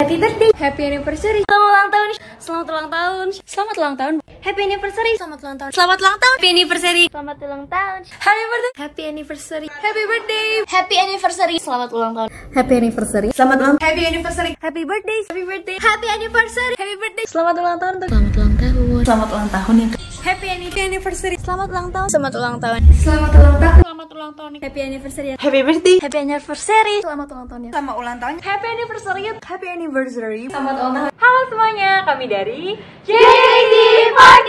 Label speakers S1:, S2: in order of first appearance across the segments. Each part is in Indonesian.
S1: Happy birthday, happy anniversary, selamat ulang tahun, selamat ulang tahun,
S2: Selamat ulang tahun.
S1: happy anniversary, selamat ulang tahun,
S2: Selamat ulang tahun. Happy anniversary.
S1: selamat ulang tahun,
S2: Happy birthday.
S1: happy anniversary,
S2: Happy birthday.
S1: happy anniversary, selamat ulang tahun,
S2: Happy anniversary. Selamat ulang Happy anniversary.
S1: happy birthday, happy birthday, happy anniversary, happy birthday, selamat ulang tahun untuk selamat ulang tahun,
S2: Selamat ulang tahun yang
S1: happy anniversary, selamat ulang tahun,
S2: Selamat ulang tahun.
S1: selamat ulang tahun, selamat ulang tahun, happy anniversary,
S2: Happy birthday.
S1: happy anniversary, selamat ulang tahun ya.
S2: Sama ulang tahun.
S1: Happy anniversary,
S2: Happy anniversary.
S1: selamat ulang tahun.
S3: Halo semuanya, kami dari JKT48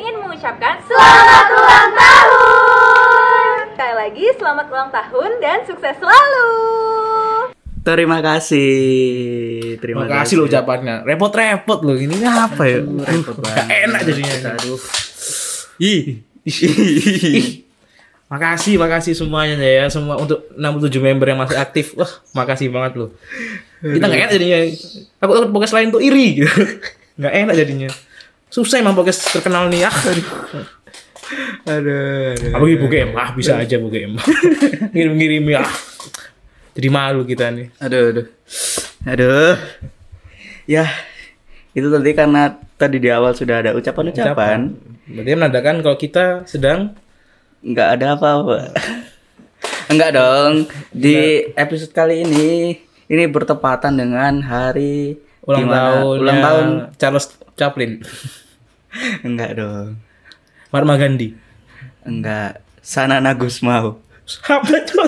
S3: ingin mengucapkan selamat ulang tahun. Sekali lagi selamat ulang tahun dan sukses selalu.
S4: Terima kasih. Terima
S5: Terima kasih lo ucapannya. Repot-repot lo ini ini apa ya?
S4: Repot
S5: Gak
S4: banget.
S5: enak jadinya.
S4: Aduh.
S5: Ih. Ih. Makasih, makasih semuanya ya semua untuk 67 member yang masih aktif. Wah, makasih banget lo. Kita gak enak jadinya. Takut takut podcast lain tuh iri gitu. Gak enak jadinya. Susah emang podcast terkenal nih ah.
S4: Aduh. aduh.
S5: Apalagi Bu GM, ah bisa aja Bu GM. Ngirim-ngirim ya. Jadi malu kita nih.
S4: Aduh, aduh. Aduh. Ya, itu tadi karena tadi di awal sudah ada ucapan-ucapan,
S5: Berarti menandakan kalau kita sedang
S4: nggak ada apa-apa. Enggak dong. Di episode kali ini ini bertepatan dengan hari
S5: ulang
S4: dimana-
S5: tahun ya.
S4: ulang tahun.
S5: Charles Chaplin
S4: Enggak dong.
S5: Mahatma Gandhi
S4: Enggak. Sanana Gusmau.
S5: apa tuh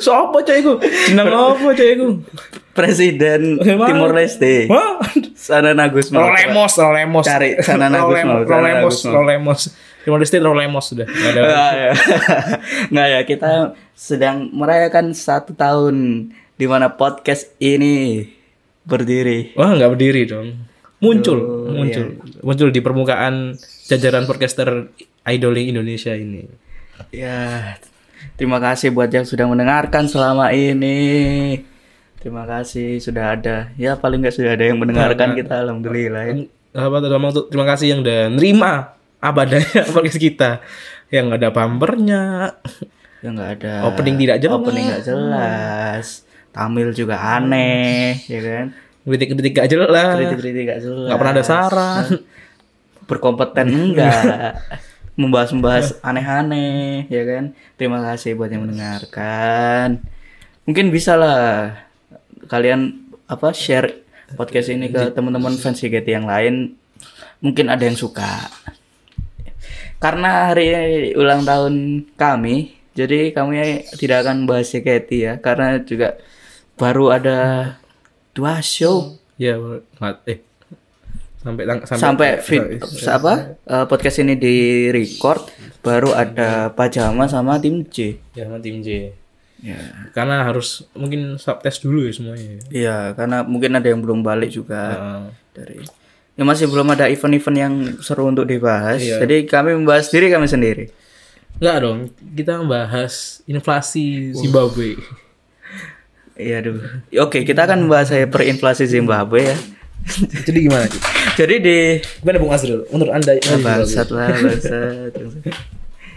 S5: siapa coy iku jeneng apa coy iku
S4: Presiden
S5: Emang?
S4: Timor Leste.
S5: Hah?
S4: Sanana Gusmau.
S5: Rolemos Rolemos
S4: Cari Sanana Gusmau, Sanana
S5: Rolemos Rolemos
S4: Gusmau.
S5: Rolemos Timor Leste Rolemos sudah Nggak ada
S4: Nggak ya. Nggak ya, kita sedang merayakan satu tahun di mana podcast ini berdiri.
S5: wah nggak berdiri dong muncul
S4: Tuh,
S5: muncul muncul di permukaan jajaran podcaster idoling Indonesia ini
S4: Ya, terima kasih buat yang sudah mendengarkan selama ini. Terima kasih sudah ada. Ya paling nggak sudah ada yang mendengarkan kita, alhamdulillah. ya.
S5: apa terutama untuk terima kasih yang udah nerima apa adanya podcast kita yang nggak ada pampernya
S4: Ya nggak ada.
S5: Opening tidak jelas.
S4: Opening nggak jelas. Tamil juga aneh, ya kan?
S5: kritik-kritik gak jelas
S4: Kritik-kritik nggak jelas.
S5: nggak Iya. pernah ada saran
S4: berkompeten enggak membahas-membahas aneh-aneh ya kan terima kasih buat yang mendengarkan mungkin bisa lah kalian apa share podcast ini ke teman-teman fans JKT yang lain mungkin ada yang suka karena hari ulang tahun kami jadi kami tidak akan bahas JKT ya karena juga baru ada dua show
S5: ya nggak- eh sampai tang-
S4: sampai vid- apa eh, podcast ini di record baru ada pajama sama tim C
S5: ya sama tim J
S4: ya
S5: karena harus mungkin subtest dulu ya semuanya ya.
S4: iya karena mungkin ada yang belum balik juga
S5: Nah,
S4: dari ya masih belum ada event-event yang seru untuk dibahas
S5: Iya.
S4: jadi kami membahas diri kami sendiri
S5: nggak dong kita membahas inflasi Zimbabwe
S4: iya aduh oke kita akan membahas saya perinflasi Zimbabwe ya
S5: jadi gimana Ci?
S4: jadi di
S5: gimana Bung Azril menurut anda inflasi
S4: bangsat lah bangsat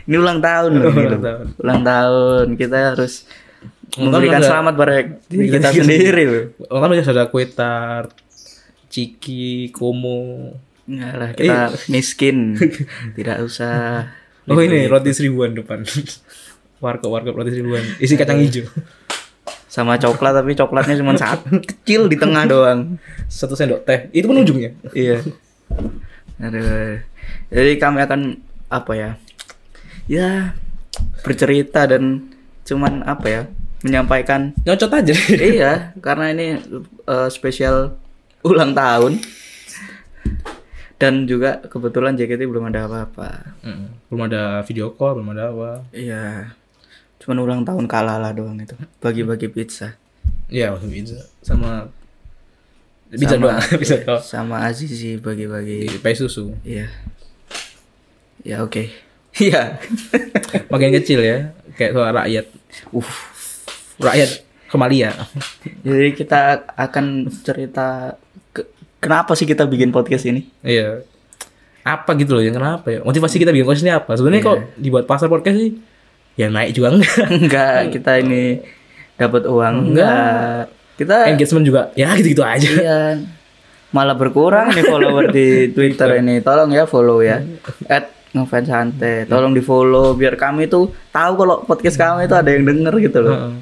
S4: ini ulang tahun loh ini
S5: Ulang
S4: loh.
S5: tahun.
S4: ulang tahun kita harus
S5: Ulang tahun
S4: memberikan
S5: ada-
S4: selamat pada diri
S5: Zimbabwe?
S4: kita sendiri loh
S5: orang kan biasa ada kue tart ciki komo
S4: Enggak lah, kita miskin. Tidak usah.
S5: oh ini roti seribuan depan warkop warkop roti seribuan isi kacang hijau
S4: Sama coklat tapi coklatnya cuma saat kecil di tengah doang.
S5: satu sendok teh itu pun ujungnya
S4: Iya. Aduh. Jadi kami akan apa ya? Ya bercerita dan cuman apa ya? Menyampaikan
S5: nyocot aja
S4: iya, karena ini eh, spesial ulang tahun. Dan juga kebetulan JKT belum ada apa-apa.
S5: Mm. belum ada video call belum ada apa
S4: Iya. Cuman ulang tahun kalah lah doang itu. Bagi-bagi pizza.
S5: ya waktu itu sama bisa
S4: Sama-
S5: doang bisa doang Iya.
S4: sama Azizi bagi-bagi
S5: Di pay susu
S4: ya ya oke iya
S5: makin kecil ya kayak soal rakyat
S4: uh
S5: rakyat Kemalia
S4: jadi kita akan cerita ke- kenapa sih kita bikin podcast ini
S5: iya apa gitu loh yang kenapa ya motivasi kita bikin podcast ini apa sebenarnya kok dibuat pasar podcast sih ya naik juga enggak
S4: enggak kita ini dapat uang enggak Kita
S5: Engagement juga ya gitu-gitu aja.
S4: Eh. Iya. Malah berkurang nih follower di Twitter ini. Tolong ya follow ya. At ngefans santai. Tolong di follow biar kami tuh tahu kalau podcast kami itu ada yang denger gitu loh.
S5: Heeh.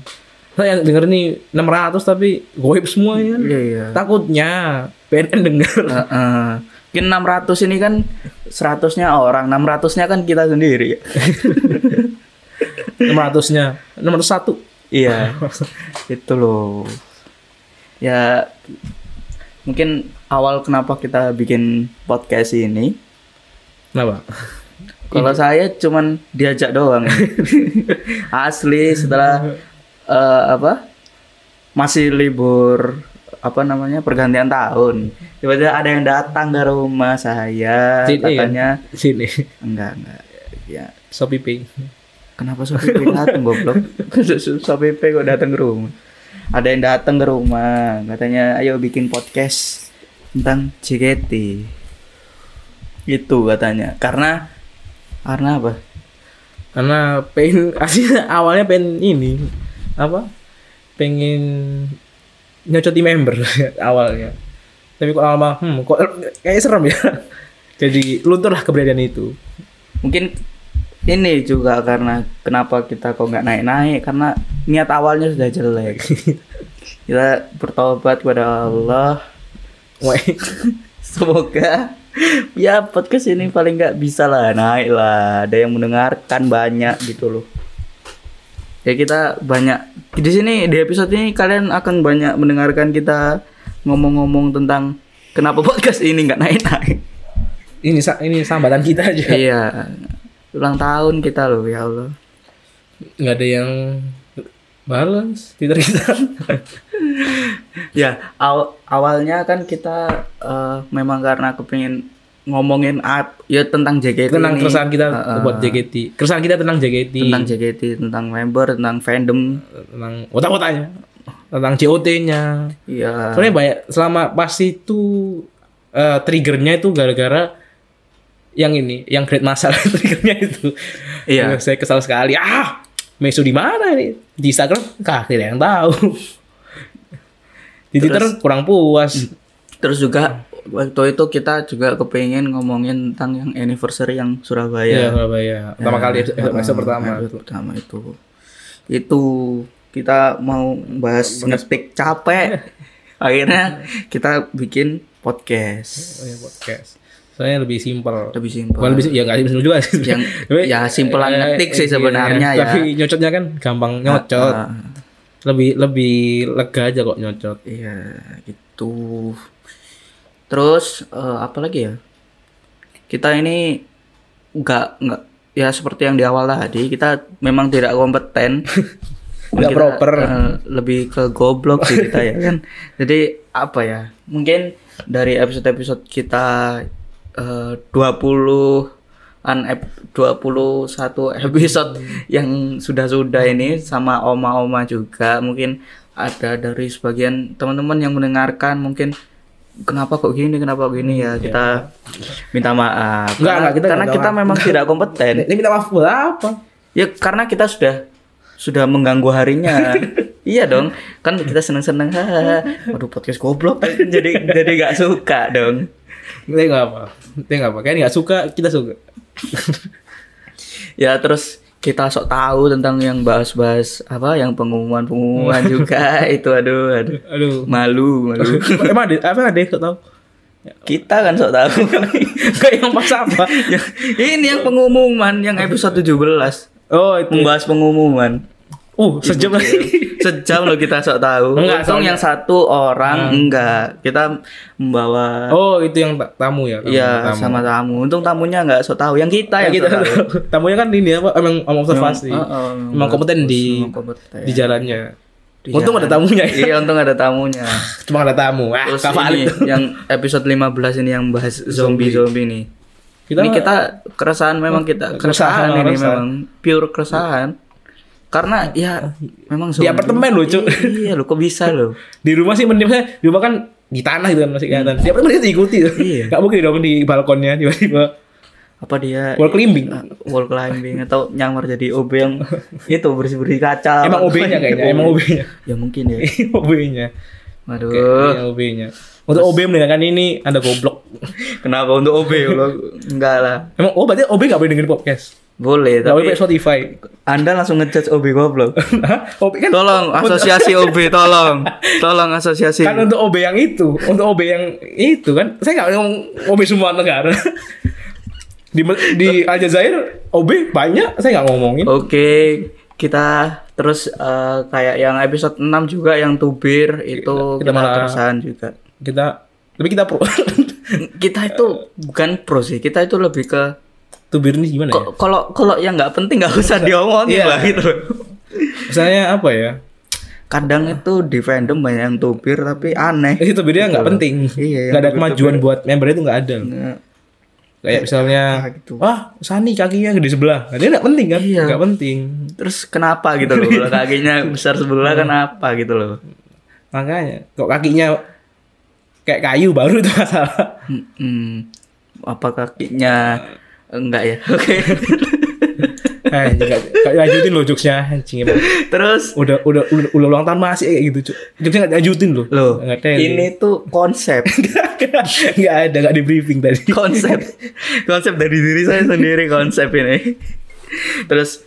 S5: Nah, yang denger nih 600 tapi goib semua ya.
S4: Iya iya.
S5: Takutnya PNN denger.
S4: Heeh. Mungkin 600 ini kan 100-nya orang, 600-nya kan kita sendiri.
S5: 600-nya. 601.
S4: iya. itu loh. Ya mungkin awal kenapa kita bikin podcast ini
S5: Kenapa?
S4: Kalau saya cuman diajak doang. Asli setelah eh, apa? Masih libur apa namanya pergantian tahun. Tiba-tiba ada yang datang ke rumah saya,
S5: Sini,
S4: katanya
S5: Sini.
S4: enggak enggak. Ya,
S5: Shopee Pay.
S4: kenapa Sopi P datang goblok? Sopi P kok datang ke rumah? Ada yang datang ke rumah, katanya ayo bikin podcast tentang JKT. Itu katanya. Karena karena apa?
S5: Karena pengen aslinya awalnya pengen ini apa? Pengen nyocoti member awalnya. Tapi kok lama hmm, kok kayak serem ya. Jadi lunturlah keberadaan itu.
S4: mungkin ini juga karena kenapa kita kok nggak naik-naik karena niat awalnya sudah jelek kita bertobat kepada Allah
S5: Weh.
S4: semoga ya podcast ini paling nggak bisa lah naik lah ada yang mendengarkan banyak gitu loh ya kita banyak di sini di episode ini kalian akan banyak mendengarkan kita ngomong-ngomong tentang kenapa podcast ini nggak naik-naik
S5: Ini sa- ini sambatan kita aja.
S4: iya ulang tahun kita loh ya Allah
S5: nggak ada yang balance Twitter kita
S4: Ya, aw- awalnya kan kita eh, memang karena kepingin ngomongin up ya tentang JKT
S5: tenang
S4: ini.
S5: keresahan kita
S4: Heeh,
S5: buat JKT keresahan kita tentang JKT
S4: tentang JKT, tentang member, tentang fandom.
S5: tentang otak-otaknya tentang COT-nya
S4: Iya.
S5: soalnya banyak selama pasti itu eh, triggernya itu gara-gara yang ini yang create masalah triggernya itu
S4: Iya.
S5: Aduh, saya kesal sekali ah Mesu di mana ini di Instagram kah tidak ada yang tahu di Twitter kurang puas
S4: Terus juga waktu itu kita juga kepingin ngomongin tentang yang anniversary yang
S5: Iya,
S4: Surabaya. Ya,
S5: Surabaya.
S4: Nah,
S5: Pertama kali episode,
S4: Heeh,
S5: episode pertama.
S4: episode pertama itu. Itu kita mau bahas ngetik capek. Akhirnya kita bikin podcast.
S5: Punya Iya, podcast. Soalnya lebih simpel.
S4: Lebih simpel.
S5: Bukan lebih sim- ya enggak simpel juga sih.
S4: Yang-
S5: Tapi-
S4: ya, simpelan
S5: eh,
S4: ngetik sih
S5: iya,
S4: sebenarnya ya.
S5: Tapi nyocotnya kan gampang nyocot.
S4: Ah,
S5: Lebih lebih lega aja kok nyocot.
S4: Iya, gitu. Terus eh, apa lagi ya? Kita ini nggak nggak ya seperti yang di awal tadi kita memang tidak kompeten. Kita,
S5: Nggak proper.
S4: eh, lebih ke goblok sih kita ya kan. Jadi apa ya? Mungkin dari episode-episode kita eh, 20 an ep- 21 episode
S5: Hmm.
S4: yang sudah-sudah ini sama oma-oma juga mungkin ada dari sebagian teman-teman yang mendengarkan mungkin kenapa kok gini kenapa kok gini
S5: Hmm,
S4: ya kita minta maaf karena,
S5: Enggak, enggak, kita
S4: karena
S5: minta
S4: kita
S5: maaf.
S4: memang tidak kompeten
S5: Ini minta maaf buat apa?
S4: ya karena kita sudah sudah mengganggu harinya iya dong kan kita seneng-seneng hahaha waduh podcast goblok jadi jadi nggak suka dong
S5: Ini enggak apa. Ini enggak apa. Kayaknya enggak suka, kita suka.
S4: ya terus kita sok tahu tentang yang bahas-bahas apa yang pengumuman-pengumuman juga itu aduh aduh
S5: Aduh.
S4: malu malu
S5: Emang ada apa ada yang tahu?
S4: kita kan sok tahu
S5: Enggak yang pas apa?
S4: Yang- ini yang pengumuman yang episode 17
S5: Oh, itu.
S4: membahas pengumuman
S5: Uh, sejam
S4: Iya.
S5: lagi.
S4: sejam loh kita sok tahu
S5: Enggak,
S4: untung yang
S5: soalnya- Hmm.
S4: satu orang enggak kita membawa
S5: Oh, itu yang ta- tamu ya. tamu-
S4: Iya
S5: tamu.
S4: sama tamu. Untung tamunya nggak sok tahu. Yang kita yang
S5: Kayak
S4: sok
S5: kita
S4: tahu.
S5: tamunya kan ini apa emang emang observasi
S4: Emang- oh, oh,
S5: emang kompeten di
S4: Emang kompeten.
S5: di jalannya
S4: Di
S5: untung
S4: jalan.
S5: ada tamunya ya.
S4: Iya untung ada tamunya.
S5: cuma ada tamu ah
S4: Terus
S5: Kak
S4: ini
S5: Farid
S4: ya.
S5: tuh.
S4: yang episode 15 ini yang bahas zombie zombie nih.
S5: kita Oh,
S4: ini kita keresahan memang kita
S5: Keresahan,
S4: keresahan, ini
S5: keresahan.
S4: memang pure keresahan. Karena ya memang
S5: Di apartemen loh, Cuk.
S4: Iya lo kok bisa lo.
S5: di rumah sih mending saya di rumah kan di tanah gitu kan masih kelihatan dia pernah diikuti tuh
S4: Hmm. Iya.
S5: nggak mungkin dong di balkonnya tiba-tiba
S4: apa dia
S5: Wall climbing.
S4: Uh, wall climbing atau nyamar jadi OB yang itu bersih bersih kaca
S5: Emang OB-nya kayaknya, emang OB-nya.
S4: ya mungkin ya
S5: OB-nya.
S4: waduh
S5: Kayaknya OB-nya. Untuk OB mendengarkan ini Anda goblok.
S4: kenapa untuk OB lo enggak lah
S5: Emang oh berarti OB gak boleh dengerin podcast.
S4: boleh
S5: Gak boleh
S4: tapi
S5: pakai Spotify.
S4: anda langsung ngejudge OB goblok
S5: Hah? OB kan
S4: tolong asosiasi OB tolong tolong asosiasi
S5: kan untuk OB yang itu, untuk OB yang itu kan. Saya nggak ngomong OB semua negara. di di Aljazair OB banyak, saya nggak ngomongin.
S4: Oke, kita terus eh, kayak yang episode 6 juga yang tubir itu
S5: Kita
S4: kita,
S5: malah-
S4: keresahan juga.
S5: Kita tapi kita pro.
S4: Kita itu bukan pro sih, kita itu lebih ke
S5: Tubir ini gimana ya?
S4: ko- kalau kalau yang nggak penting nggak usah diomongin
S5: Iya.
S4: lah gitu. loh.
S5: Misalnya apa ya?
S4: Kadang itu di fandom banyak yang tubir tapi aneh.
S5: Eh, tubirnya nggak penting.
S4: Iya, yang
S5: Nggak ada
S4: tubir-tubir.
S5: kemajuan buat membernya itu nggak ada.
S4: Nge-
S5: Kayak misalnya,
S4: Ah, gitu.
S5: wah Sani kakinya gede sebelah. Nah, dia nggak penting kan?
S4: Iya.
S5: Nggak penting.
S4: Terus kenapa gitu loh? Kalau kakinya besar sebelah
S5: Iya.
S4: kenapa gitu loh?
S5: Makanya, kok kakinya kayak kayu baru itu masalah.
S4: Mm-mm. Apa kakinya enggak ya? Oke.
S5: Eh, juga- nggak lanjutin lo jokesnya anjing emang.
S4: Terus
S5: Udah, udah, udah, udah ulang tahun masih kayak gitu. Cuk. Jokesnya nggak lanjutin lo.
S4: Loh,
S5: nggak teli.
S4: ini tuh konsep,
S5: nggak ada, nggak di briefing tadi.
S4: konsep, konsep dari diri saya sendiri konsep ini. Terus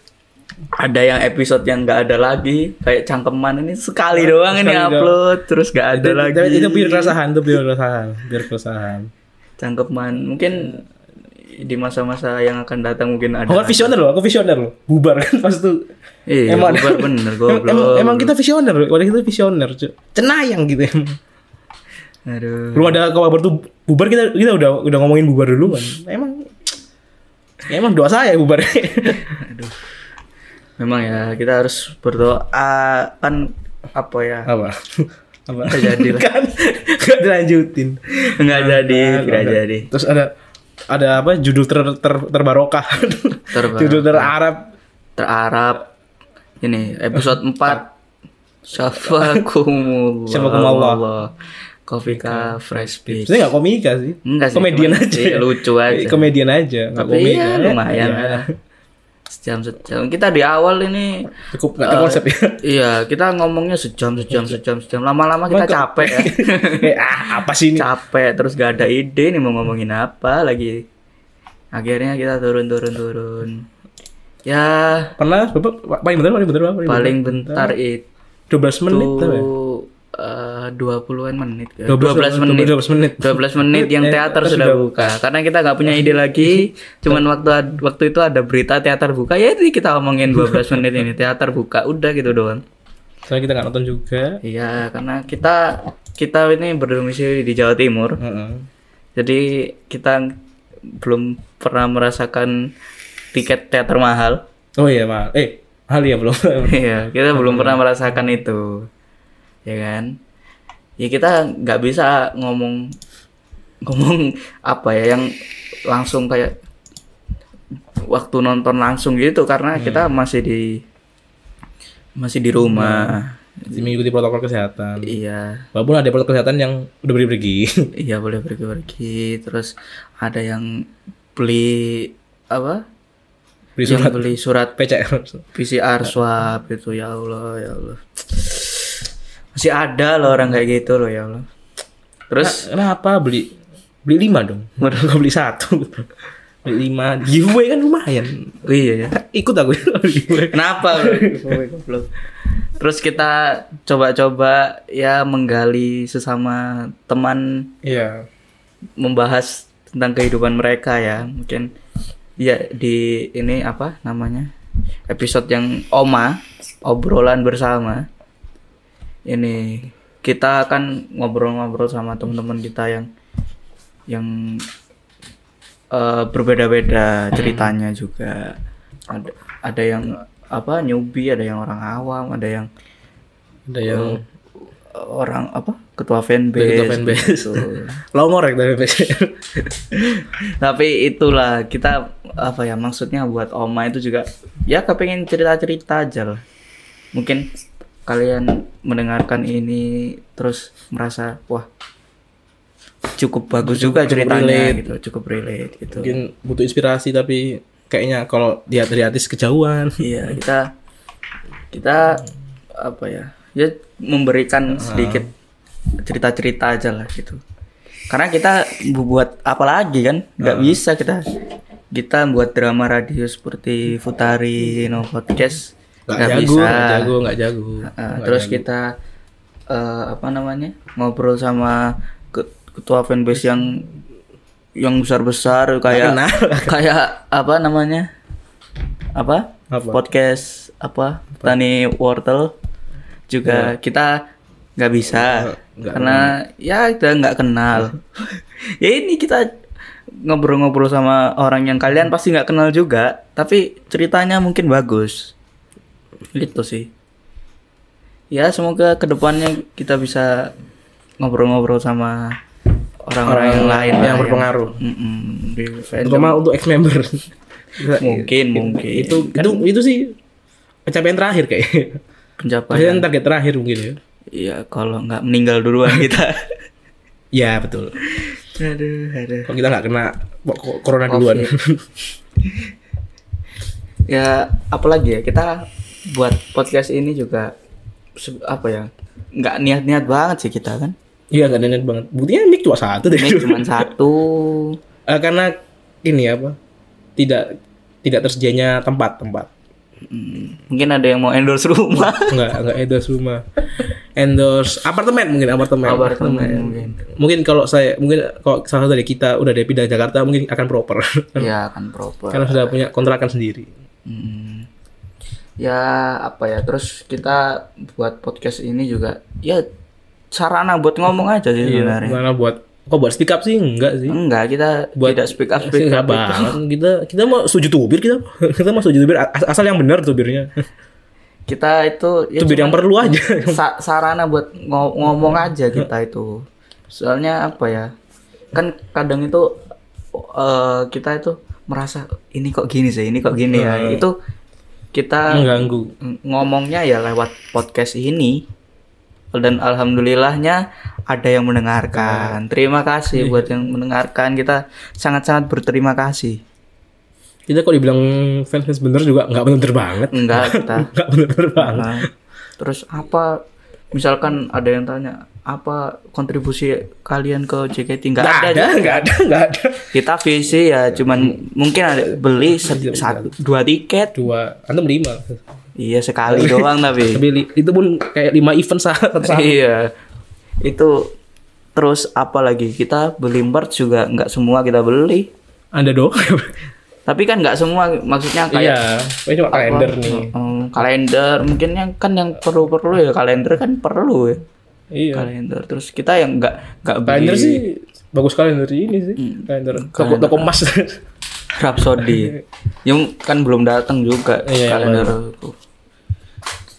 S4: ada yang episode yang nggak ada lagi, kayak cangkeman ini sekali doang ini
S5: Nah, Sekali doang.
S4: upload, terus nggak ada
S5: Itu-
S4: lagi.
S5: Itu, itu biar keresahan, itu biar keresahan, biar keresahan.
S4: Cangkeman, mungkin di masa-masa yang akan datang mungkin ada.
S5: Aku kan visioner loh, aku visioner loh. Bubar kan pas itu.
S4: Iya, bubar bener,
S5: emang,
S4: goblok.
S5: emang, emang kita visioner loh, wadah kita visioner, cuy. Cenayang gitu emang.
S4: Hmm. Aduh.
S5: Belum ada kabar tuh bubar kita kita udah udah ngomongin bubar dulu kan. Emang ya emang doa saya bubar.
S4: Memang ya kita harus berdoa kan apa ya?
S5: Apa? Apa?
S4: Nggak jadi lah.
S5: kan nggak dilanjutin.
S4: Nggak jadi, tidak
S5: Ada-
S4: jadi.
S5: Terus ada ada apa judul ter, ter terbarokah.
S4: Terbarokah.
S5: judul terarab.
S4: terarab ini episode 4 Syafakumullah
S5: Syafakumullah.
S4: Kofika Fresh Beach
S5: Sebenarnya nggak komika sih.
S4: Nggak sih,
S5: Komedian
S4: cuman-
S5: aja. ya.
S4: iya, lucu aja.
S5: Komedian aja. nggak
S4: Tapi
S5: komika.
S4: ya lumayan
S5: Iya.
S4: lah. sejam sejam kita di awal ini
S5: Cukup nggak terkonsep ya.
S4: iya kita ngomongnya sejam sejam sejam sejam lama-lama kita capek ya
S5: Eh, ah, apa sih ini?
S4: capek terus gak ada ide nih mau ngomongin apa lagi akhirnya kita turun turun turun ya
S5: Pernah Bapak paling bentar paling Iya, bentar Bapak,
S4: paling bentar itu eh,
S5: 12 menit tau ya?
S4: dua puluhan menit ya.
S5: 12
S4: 12 menit
S5: 12 menit.
S4: 12 menit yang
S5: Eh,
S4: teater sudah
S5: teater sudah Iya.
S4: buka karena kita nggak punya ide lagi cuman waktu waktu itu ada berita teater buka ya ini kita omongin 12 menit ini teater buka udah gitu doang
S5: Soalnya kita nggak nonton juga.
S4: iya karena kita kita ini berdomisili di Jawa Timur
S5: Heeh.
S4: jadi kita belum pernah merasakan tiket teater mahal
S5: Oh iya, Mal. Eh, hal ya belum.
S4: Iya, kita belum pernah merasakan itu, ya kan? Ya kita nggak bisa ngomong ngomong apa ya yang langsung kayak waktu nonton langsung gitu karena
S5: Iya.
S4: kita masih di masih di rumah.
S5: Mengikuti protokol kesehatan.
S4: Iya,
S5: Walaupun ada protokol kesehatan yang udah pergi-pergi.
S4: iya boleh pergi-pergi. Terus ada yang beli apa?
S5: Beli
S4: Yang
S5: surat
S4: beli surat
S5: PCR.
S4: PCR swab gitu ya Allah ya Allah masih ada loh orang kayak gitu loh ya Allah terus
S5: Kenapa beli beli lima dong? Padahal gua beli satu. Beli lima. Giveaway kan lumayan.
S4: oh iya ya
S5: Ikut aku giveaway.
S4: kenapa bro? Goblok. terus kita coba-coba ya menggali sesama teman
S5: Iya.
S4: membahas tentang kehidupan mereka ya mungkin ya di ini apa namanya episode yang Oma obrolan bersama ini kita akan ngobrol-ngobrol sama teman-teman kita yang yang eh, berbeda-beda
S5: Hmm.
S4: ceritanya juga ada ada yang apa newbie ada yang orang awam ada yang
S5: Ada yang
S4: orang apa ketua fanbase,
S5: Hmm. Ketua fanbase.
S4: gitu.
S5: longorek dari PCR.
S4: tapi itulah kita apa ya maksudnya buat oma itu juga ya kepengen cerita cerita aja lah mungkin kalian mendengarkan ini terus merasa wah cukup bagus juga ceritanya
S5: relate.
S4: gitu, cukup relate gitu.
S5: Mungkin butuh inspirasi tapi kayaknya kalau lihat dari artis kejauhan.
S4: Iya, kita kita apa ya? Ya memberikan sedikit cerita-cerita aja lah gitu. Karena kita bu- buat apa lagi kan? Nggak bisa kita kita buat drama radio seperti Futari, No Podcast.
S5: Gak
S4: nggak
S5: jago,
S4: bisa.
S5: gak jago, gak jago.
S4: Uh, terus kita eh, apa namanya ngobrol sama ke- ketua fanbase yang yang besar besar kayak
S5: Kenal.
S4: kayak apa namanya apa,
S5: Apa?
S4: podcast apa petani wortel juga kita nggak bisa
S5: Iya. nggak
S4: karena ya kita nggak kenal ya ini kita ngobrol-ngobrol sama orang yang kalian pasti nggak kenal juga tapi ceritanya mungkin bagus gitu sih ya semoga kedepannya kita bisa ngobrol-ngobrol sama orang-orang yang lain lah ya.
S5: yang berpengaruh.
S4: Mm-mm, di fandom.
S5: Terutama untuk ex member.
S4: mungkin mungkin
S5: itu itu itu sih Kan pencapaian terakhir kayak.
S4: pencapaian
S5: Pencapaian target terakhir mungkin ya.
S4: ya kalau nggak meninggal duluan kita
S5: Ya betul.
S4: aduh aduh
S5: Kalau kita nggak kena ko- corona duluan.
S4: ya apalagi ya kita buat podcast ini juga se- apa ya nggak niat-niat banget sih kita kan
S5: Iya nggak nenek banget. Buktinya mic cuma satu deh.
S4: ini cuma satu
S5: Eh, karena ini apa? Tidak tidak tersedianya tempat-tempat.
S4: mungkin ada yang mau endorse rumah
S5: Enggak, enggak endorse rumah. Endorse apartemen mungkin apartemen.
S4: Apartemen mungkin.
S5: Mungkin kalau saya mungkin kalau salah satu dari kita udah dari pindah Jakarta mungkin akan proper.
S4: ya kan proper
S5: Karena sudah punya kontrakan sendiri.
S4: Hmm. Ya apa ya terus kita buat podcast ini juga ya sarana buat ngomong aja sih sebenarnya.
S5: Mana Iya, buat kok buat speak up sih enggak sih?
S4: Iya, ya. Enggak kita
S5: Buat-
S4: tidak speak up speak up
S5: Enggak
S4: gitu. itu.
S5: banget. Kita kita mau setuju tubir kita. Kita mau setuju tubir as- asal yang benar tubirnya.
S4: Kita itu ya
S5: tubir yang perlu aja.
S4: sa- sarana buat ngo- ngomong aja kita itu. Soalnya apa ya? Kan kadang itu eh, kita itu merasa ini kok gini sih, ini kok gini ya.
S5: Hmm.
S4: Itu kita
S5: Mengganggu.
S4: ng- ngomongnya ya lewat podcast ini dan alhamdulillahnya ada yang mendengarkan. Terima kasih buat yang mendengarkan. Kita sangat-sangat berterima kasih.
S5: Kita kok dibilang fans fans bener juga enggak bener banget.
S4: Enggak kita.
S5: Enggak bener banget.
S4: Nah, terus apa misalkan ada yang tanya apa kontribusi kalian ke JKT enggak
S5: Enggak
S4: ada.
S5: ada, enggak ada, enggak ada.
S4: Kita visi ya cuman mungkin ada beli se- satu dua tiket.
S5: Dua, antum lima.
S4: Iya sekali doang tapi.
S5: Tapi li- itu pun kayak 5 event sah- satu satu.
S4: Iya. Itu terus apa lagi? Kita beli merch juga nggak semua kita beli.
S5: Anda dong.
S4: Tapi kan nggak semua maksudnya kayak
S5: Iya, ini cuma kalender nih.
S4: Mm, kalender mungkin yang kan yang perlu-perlu ya kalender kan perlu ya.
S5: Iya.
S4: Kalender. Terus kita yang nggak nggak beli
S5: Kalender sih bagus kalender ini sih. Kalender toko
S4: kalender.
S5: toko emas.
S4: Rhapsody. yang kan belum datang juga
S5: Iya,
S4: kalender itu.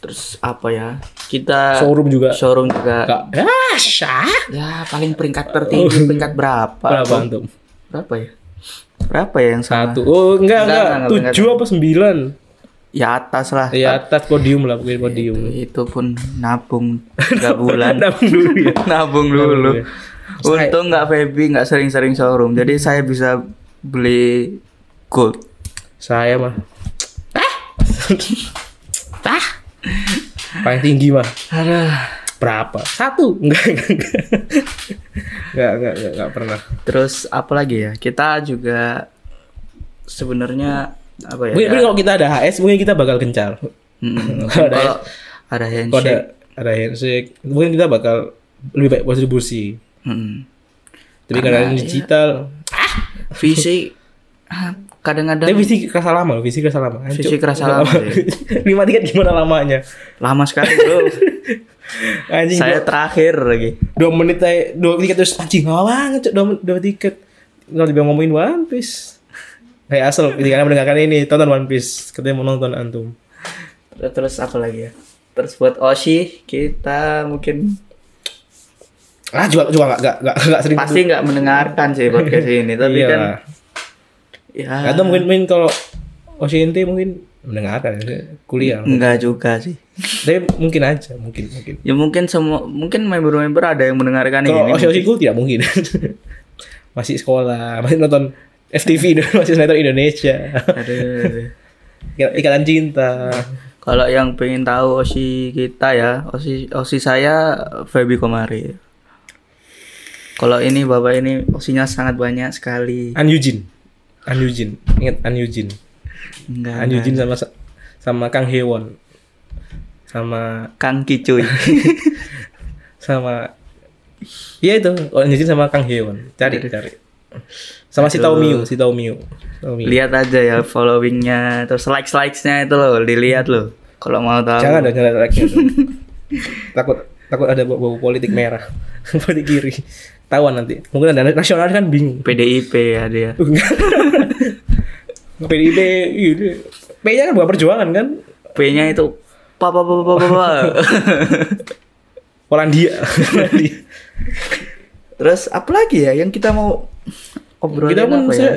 S4: Terus apa ya? Kita
S5: Showroom juga.
S4: showroom juga.
S5: Enggak. Ah, syah.
S4: Ya paling peringkat tertinggi peringkat berapa?
S5: Oh. Berapa antum?
S4: berapa ya? Berapa ya yang salah?
S5: Satu. Oh, enggak
S4: Enggak,
S5: enggak.
S4: enggak, enggak,
S5: Tujuh apa sembilan?
S4: Ya atas lah.
S5: Ya atas podium lah, pokoknya podium.
S4: Itu pun nabung 3 bulan.
S5: Nabung dulu ya.
S4: nabung
S5: Nabung
S4: dulu.
S5: ya.
S4: Untung nggak Feby nggak sering-sering showroom. Jadi saya bisa beli gold.
S5: Saya mah. Ah. Paling tinggi mah. Berapa? Satu. Enggak, enggak, enggak. Enggak, enggak, enggak, enggak pernah.
S4: Terus apa lagi ya? Kita juga sebenarnya apa ya?
S5: Mungkin, mungkin kalau kita ada HS mungkin kita bakal gencar.
S4: Mm,
S5: kalau ada- ya?
S4: kalau ada
S5: Kalau ada
S4: handshake.
S5: ada handshake, mungkin kita bakal lebih baik kontribusi.
S4: Mm.
S5: Tapi karena
S4: iya.
S5: digital,
S4: Visi ah, kadang-kadang
S5: tapi visi kerasa lama loh, visi kerasa lama. Hancur.
S4: Visi kerasa lama, sih.
S5: Lima tiket gimana lamanya?
S4: lama sekali bro.
S5: Anjing
S4: saya
S5: saya
S4: terakhir lagi.
S5: dua, menit aja, dua tiket terus anjing lama banget cok, dua, men- dua tiket. Kalau tiba ngomongin One Piece. Kayak asal, ketika mendengarkan ini, tonton One Piece. Katanya mau nonton Antum.
S4: Terus apa lagi ya? Terus buat Oshi kita mungkin
S5: Ah, juga, juga gak, gak, gak, gak sering.
S4: pasti nggak mendengarkan sih podcast ini, tapi
S5: Iya
S4: kan
S5: lah.
S4: ya
S5: Atau mungkin mungkin kalau OCNT mungkin mendengarkan ya, kuliah.
S4: enggak juga sih.
S5: Tapi mungkin aja, mungkin mungkin.
S4: Ya mungkin semua mungkin member-member ada yang mendengarkan
S5: Kalau
S4: ini.
S5: OC OC tidak mungkin. masih sekolah, masih nonton FTV Indo- masih sinetron Indonesia.
S4: Aduh.
S5: Ikatan Ikatan cinta.
S4: Kalau yang pengen tahu osi kita ya, osi osi saya Feby Komari. Kalau ini bapak ini osinya sangat banyak sekali.
S5: An Yujin. An Yujin. Ingat An Yujin.
S4: Enggak.
S5: An
S4: enggak.
S5: Yujin sama sama Kang Hewon. Sama
S4: Kang Kicuy.
S5: sama Iya itu, An Yujin sama Kang Hewon. Cari cari. Sama si
S4: Aduh.
S5: Taomiu, si Taomiu. Taomiu.
S4: Lihat aja ya followingnya, terus likes likesnya itu loh, dilihat loh. Kalau mau tahu.
S5: Jangan dong, jangan lagi. takut takut ada bau, bau politik merah, politik kiri. Tahuan nanti. Mungkin ada nasional kan bingung.
S4: PDIP ya dia.
S5: PDIP, iya, P-nya kan bukan perjuangan kan?
S4: P-nya itu pa pa pa pa pa. pa.
S5: Polandia. Polandia.
S4: terus apa lagi ya yang kita mau obrolin
S5: kita pun
S4: apa ya?
S5: saya,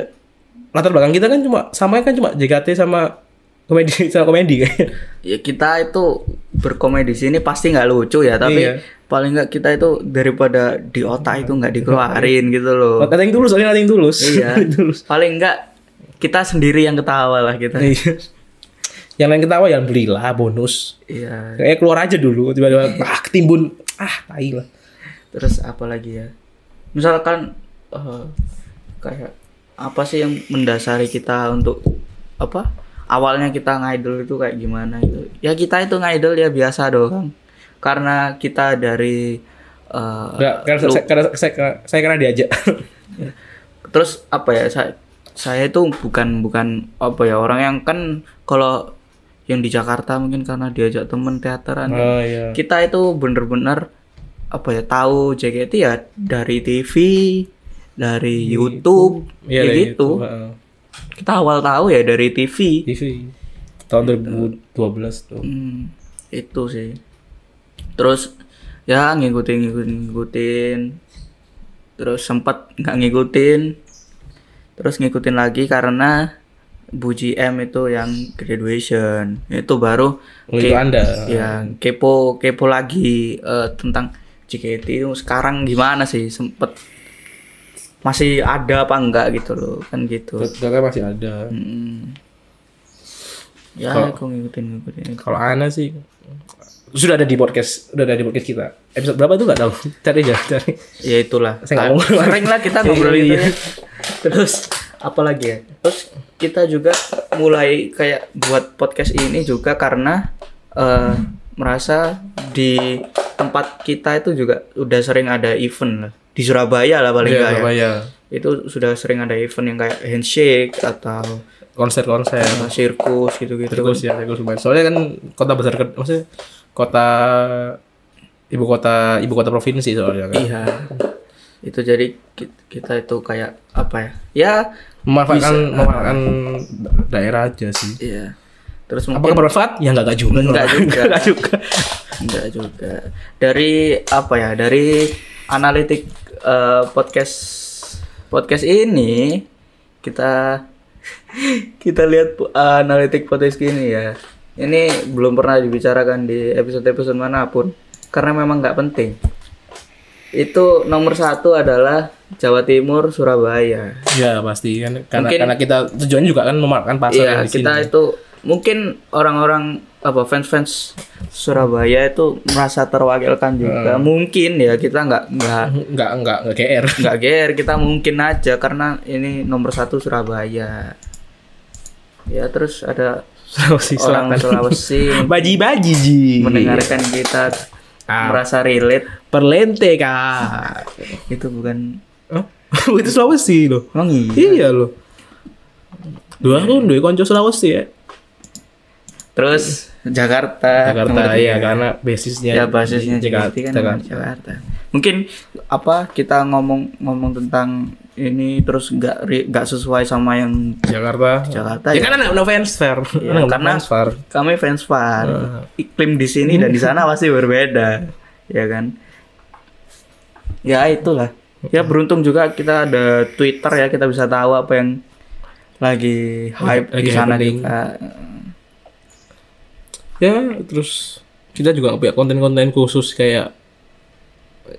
S5: latar belakang kita kan cuma sama kan cuma JKT sama komedi sama komedi kayaknya.
S4: ya kita itu berkomedi di sini pasti nggak lucu ya tapi
S5: Iya.
S4: paling nggak kita itu daripada di otak itu nggak dikeluarin
S5: Iya.
S4: gitu loh
S5: Ada yang tulus, ada yang tulus.
S4: iya
S5: Ada yang tulus.
S4: paling nggak kita sendiri yang ketawa lah kita
S5: Iya. yang lain ketawa yang belilah bonus.
S4: iya
S5: Kayak keluar aja dulu tiba-tiba ah ketimbun ah tai lah.
S4: terus apa lagi ya misalkan eh, kayak apa sih yang mendasari kita untuk apa awalnya kita ngidol itu kayak gimana gitu ya kita itu ngidol ya biasa dong karena kita dari eh,
S5: Enggak, karena
S4: lu-
S5: saya, karena saya, saya karena diajak.
S4: terus apa ya saya saya itu bukan bukan apa ya orang yang kan kalau yang di Jakarta mungkin karena diajak temen teateran
S5: oh iya.
S4: kita itu bener-bener apa ya tahu JKT ya dari TV dari YouTube
S5: Iya
S4: ya
S5: dari
S4: gitu
S5: YouTube, heeh.
S4: kita awal tahu ya dari TV
S5: TV tahun
S4: Gitu.
S5: 2012 tuh.
S4: Hmm, itu sih terus ya ngikutin ngikutin ngikutin terus sempat nggak ngikutin terus ngikutin lagi karena Bu GM itu yang graduation itu baru
S5: Oh, itu Anda.
S4: ya kepo kepo lagi eh, tentang JKT itu sekarang gimana sih sempet masih ada apa enggak gitu loh kan gitu
S5: Ternyata masih ada.
S4: Mm. ya aku ngikutin ngikutin
S5: Kalau Ana sih sudah ada di podcast, sudah ada di podcast kita. Episode berapa tuh nggak tahu. Cari aja, cari.
S4: ya itulah
S5: Saya nggak mau.
S4: sering lah kita ngobrol
S5: Iya,
S4: gitu
S5: iya.
S4: ya. terus apalagi ya terus kita juga mulai kayak buat podcast ini juga karena eh, merasa di tempat kita itu juga udah sering ada event lah di Surabaya lah paling nggak ya. itu sudah sering ada event yang kayak handshake atau
S5: Konser-konser.
S4: eh, sirkus gitu-gitu
S5: Terus ya, terus lumayan. Soalnya kan kota besar ke- maksudnya kota ibu kota ibu kota provinsi soalnya kan.
S4: iya itu jadi ki- kita itu kayak apa ya ya
S5: Memanfaatkan memanfaatkan daerah aja sih.
S4: Iya. Terus
S5: Apakah
S4: mungkin
S5: bermanfaat? Ya enggak enggak juga.
S4: Nggak juga.
S5: Nggak juga.
S4: enggak juga. Dari apa ya? Dari analitik eh, podcast podcast ini kita kita lihat eh, analitik podcast ini ya. Ini belum pernah dibicarakan di episode-episode manapun karena memang nggak penting. Itu nomor satu adalah Jawa Timur, Surabaya.
S5: Ya pasti kan karena
S4: Mungkin-
S5: karena kita tujuannya juga kan memanfaatkan pasar
S4: Iya,
S5: yang di
S4: kita
S5: sini.
S4: itu mungkin orang-orang apa fans-fans Surabaya itu merasa terwakilkan
S5: Hmm.
S4: juga. Mungkin ya kita nggak nggak
S5: Enggak enggak enggak GR.
S4: nggak GR, kita mungkin aja karena ini nomor satu Surabaya. Ya terus ada
S5: Sulawesi
S4: orang
S5: Selatan.
S4: Sulawesi
S5: Baji-baji ji.
S4: mendengarkan kita
S5: Ah.
S4: merasa relate
S5: Perlente kak.
S4: itu bukan
S5: Hah? itu Sulawesi loh.
S4: emang iya.
S5: Iya loh. Dua aku duwe konco Sulawesi ya.
S4: Terus Jakarta. nomor
S5: Jakarta
S4: tiga.
S5: ya karena basisnya
S4: ya basisnya
S5: di Jakarta,
S4: JKT kan
S5: Jakarta.
S4: di Jakarta mungkin apa kita ngomong ngomong tentang ini terus nggak ri- nggak sesuai sama yang
S5: Jakarta.
S4: Jakarta
S5: Ya,
S4: ya.
S5: kan anak no fans fair.
S4: Iya,
S5: Anak no
S4: karena
S5: fans fair.
S4: kami fans far
S5: Ah.
S4: iklim di sini dan di sana pasti berbeda ya kan ya itulah ya
S5: Hmm.
S4: beruntung juga kita ada Twitter ya kita bisa tahu apa yang lagi hype
S5: Lagi
S4: di eh, sana
S5: happening.
S4: juga
S5: Ya, terus kita juga punya konten-konten khusus kayak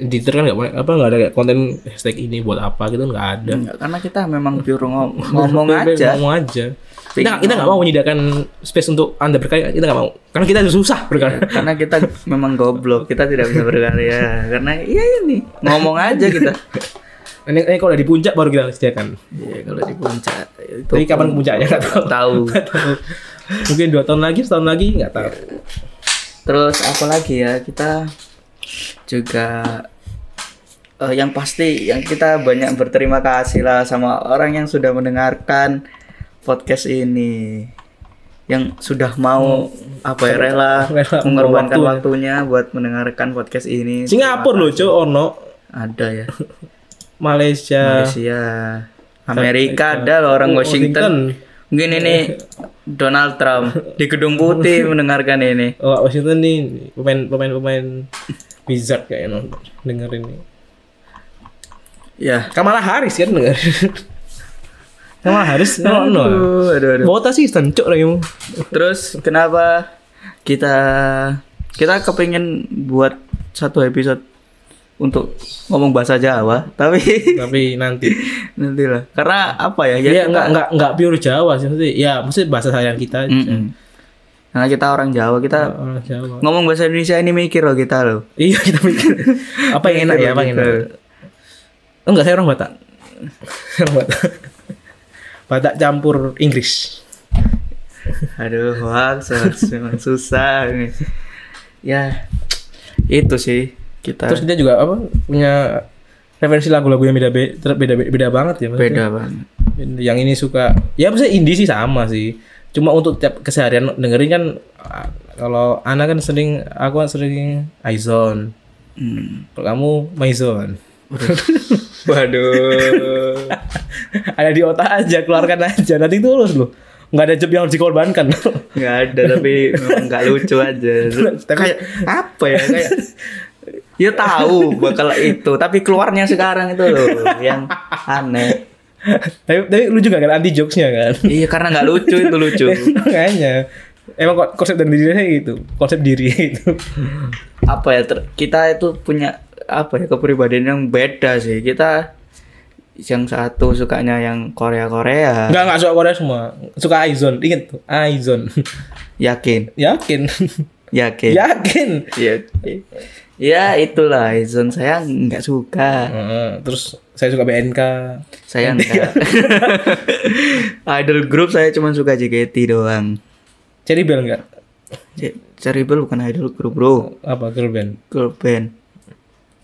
S5: di Twitter kan nggak boleh apa nggak ada kayak konten hashtag ini buat apa gitu nggak ada.
S4: Enggak, karena kita memang pure ngom- Hmm. ngomong aja.
S5: Ngomong aja. Kita kita nggak mau menyediakan space untuk anda berkarya. Kita nggak mau. Karena kita susah berkarya.
S4: karena kita memang goblok, kita tidak bisa berkarya. Karena iya ini ngomong aja kita.
S5: Ini, ini kalau udah di puncak baru kita sediakan.
S4: Iya, kalau di puncak itu
S5: Tapi kapan ke puncaknya nggak tahu.
S4: tahu.
S5: Nggak tahu. Mungkin dua tahun lagi, setahun lagi nggak tahu.
S4: Iya, Terus apa lagi ya kita juga eh, yang pasti yang kita banyak berterima kasih lah sama orang yang sudah mendengarkan podcast ini yang sudah mau apa ya rela
S5: Hmm. Rela
S4: mengorbankan
S5: waktunya.
S4: waktunya buat mendengarkan podcast ini.
S5: Singapura loh, Cok, Ono,
S4: Ada ya
S5: Malaysia,
S4: Malaysia, Amerika ada loh
S5: Oh,
S4: orang Washington. Mungkin ini Donald Trump di Gedung Putih mendengarkan ini.
S5: Oh, Washington nih pemain pemain pemain Wizard kayaknya no. dengerin nih.
S4: Ya.
S5: Kamala Harris kan denger. Kamala Harris no no.
S4: Aduh, aduh, aduh.
S5: Bota sih stancuk lah kamu.
S4: Terus kenapa kita kita kepingin buat satu episode untuk ngomong bahasa Jawa, tapi
S5: Tapi nanti.
S4: nantilah. Karena apa ya?
S5: Ya,
S4: kita-
S5: nggak nggak nggak pure Jawa sih maksudnya. Ya maksudnya bahasa sayang kita. aja.
S4: Mm-mm. Karena kita orang Jawa, kita
S5: Orang Jawa.
S4: ngomong bahasa Indonesia ini mikir loh kita loh.
S5: Iya kita mikir apa yang enak ya apa
S4: Mikir
S5: yang enak.
S4: loh gitu. kita.
S5: Oh, enggak saya orang Batak. orang Batak. Batak campur Inggris.
S4: Aduh, hoax, hoax, memang susah ini. Ya, itu sih kita
S5: Terus dia juga apa punya referensi lagu-lagu yang beda be- ter- beda beda, beda banget ya maksudnya.
S4: beda banget.
S5: Yang ini suka ya maksudnya indie sih sama sih. Cuma untuk tiap keseharian dengerin kan ah, kalau Ana kan sering aku kan sering Aizon.
S4: Hmm.
S5: Kalau kamu Maizon.
S4: Waduh.
S5: Ada di otak aja, keluarkan aja. Nanti tulus loh. Nggak ada job yang harus dikorbankan.
S4: nggak ada tapi memang nggak lucu aja
S5: Tapi-
S4: kayak apa ya kayak ya tahu bakal itu tapi keluarnya sekarang itu loh yang aneh
S5: tapi, tapi lu juga kan anti jokesnya kan.
S4: iya karena nggak lucu itu lucu
S5: Makanya emang ko- konsep dari diri saya gitu, konsep diri gitu. itu.
S4: apa ya ter- kita itu punya apa ya kepribadian yang beda sih kita yang satu sukanya yang Korea Korea
S5: Enggak enggak suka Korea semua, suka Aizon. Ingat tuh, Aizon.
S4: yakin
S5: Yakin.
S4: yakin ya
S5: Yakin.
S4: ya itulah Izon saya nggak suka
S5: Heeh, terus saya suka BNK.
S4: saya nggak idol group saya cuma suka JKT doang
S5: Cherry Bell enggak?
S4: C- Cerebel bukan idol group bro
S5: Apa girl band?
S4: girl band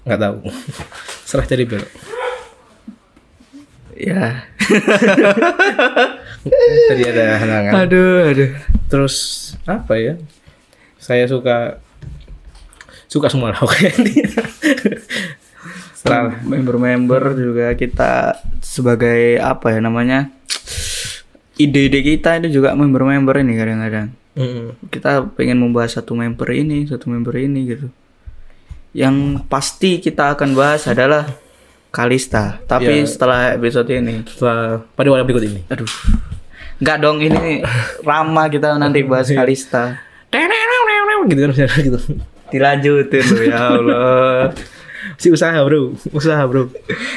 S5: Enggak tahu. Serah Cherry Bell.
S4: ya
S5: Tadi ada halangan.
S4: aduh aduh
S5: Terus apa ya? Saya suka suka semua lah pokoknya. Serah.
S4: member-member juga kita sebagai apa ya namanya ide-ide kita itu juga member-member ini kadang-kadang
S5: Mm-mm.
S4: kita pengen membahas satu member ini satu member ini gitu yang pasti kita akan bahas adalah Kalista tapi
S5: Ya.
S4: setelah episode ini
S5: Setelah pada waktu berikut ini.
S4: aduh nggak dong ini Rama kita nanti bahas Kalista
S5: gitu kan misalnya gitu.
S4: dilanjutin loh ya Allah
S5: Si usaha, Bro. Usaha, Bro.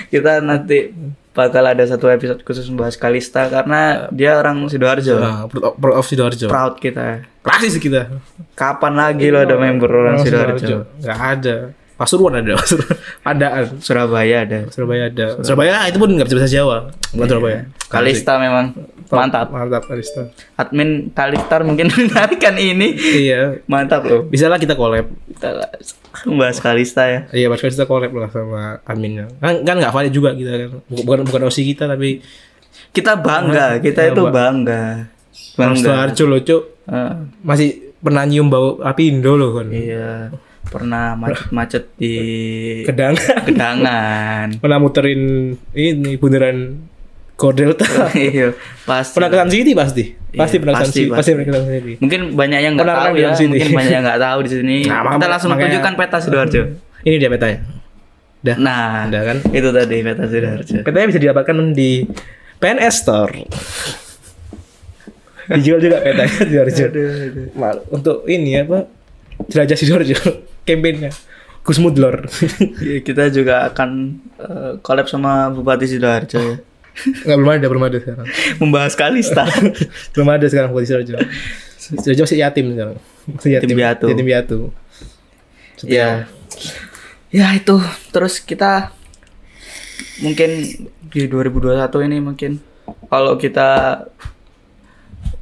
S4: kita nanti bakal ada satu episode khusus membahas Kalista karena dia orang sidoarjo
S5: Nah, Proud of- Proud of Sidoarjo.
S4: proud kita
S5: Rasis kita.
S4: kapan lagi lo ada member Iya. orang sidoarjo
S5: Enggak ada. Pasuruan ada, Pasuruan. Padaan.
S4: Surabaya ada
S5: Surabaya ada. Surabaya itu pun nggak bisa bahasa Jawa. Bukan Surabaya.
S4: Kalista memang mantap
S5: Mantap, Kalista.
S4: admin Kalistar mungkin menarikan ini
S5: Iya.
S4: mantap loh
S5: Bisa lah kita collab.
S4: kita membahas Kalista ya
S5: Iya, Mas Kalista collab lah sama adminnya. Kan kan nggak valid juga kita kan. Bukan bukan- bukan OSI kita tapi
S4: kita bangga
S5: Iya,
S4: kita itu
S5: Mbak.
S4: bangga
S5: Mas
S4: bangga
S5: Sidoarjo loh, Cuk.
S4: Heeh.
S5: Masih pernah nyium bau api Indo loh kan.
S4: iya pernah macet-macet di
S5: Kedangan.
S4: kedangan
S5: pernah muterin ini bundaran Gordelta.
S4: iya pasti
S5: pernah ke Sun City pasti. Pasti
S4: Iya,
S5: pernah ke Sun
S4: pasti,
S5: City.
S4: pasti.
S5: Pasti pernah ke Sun City.
S4: Mungkin banyak yang nggak
S5: Orang
S4: tahu
S5: kan
S4: ya,
S5: bilang sini.
S4: mungkin banyak yang nggak tahu di sini.
S5: Nah,
S4: kita
S5: makanya-
S4: langsung
S5: makanya-
S4: tunjukkan peta sidoarjo.
S5: Ini dia petanya. Dah.
S4: Nah,
S5: Ada kan?
S4: itu tadi peta sidoarjo.
S5: Petanya bisa didapatkan di PNS Store. Dijual juga petanya di Sidoarjo. Mal- Untuk ini apa? Jelajah Sidoarjo kampanyenya. Gus Mudlor.
S4: Ya, kita juga akan eh, collab sama Bupati Sidoarjo ya.
S5: Enggak belum ada, belum ada sekarang.
S4: Membahas Kalista.
S5: belum ada sekarang buat Sidoarjo. Sidoarjo masih yatim sekarang. Masih yatim.
S4: Yatim piatu.
S5: Yatim piatu.
S4: ya. Ya itu. Terus kita mungkin di 2021 ini mungkin kalau kita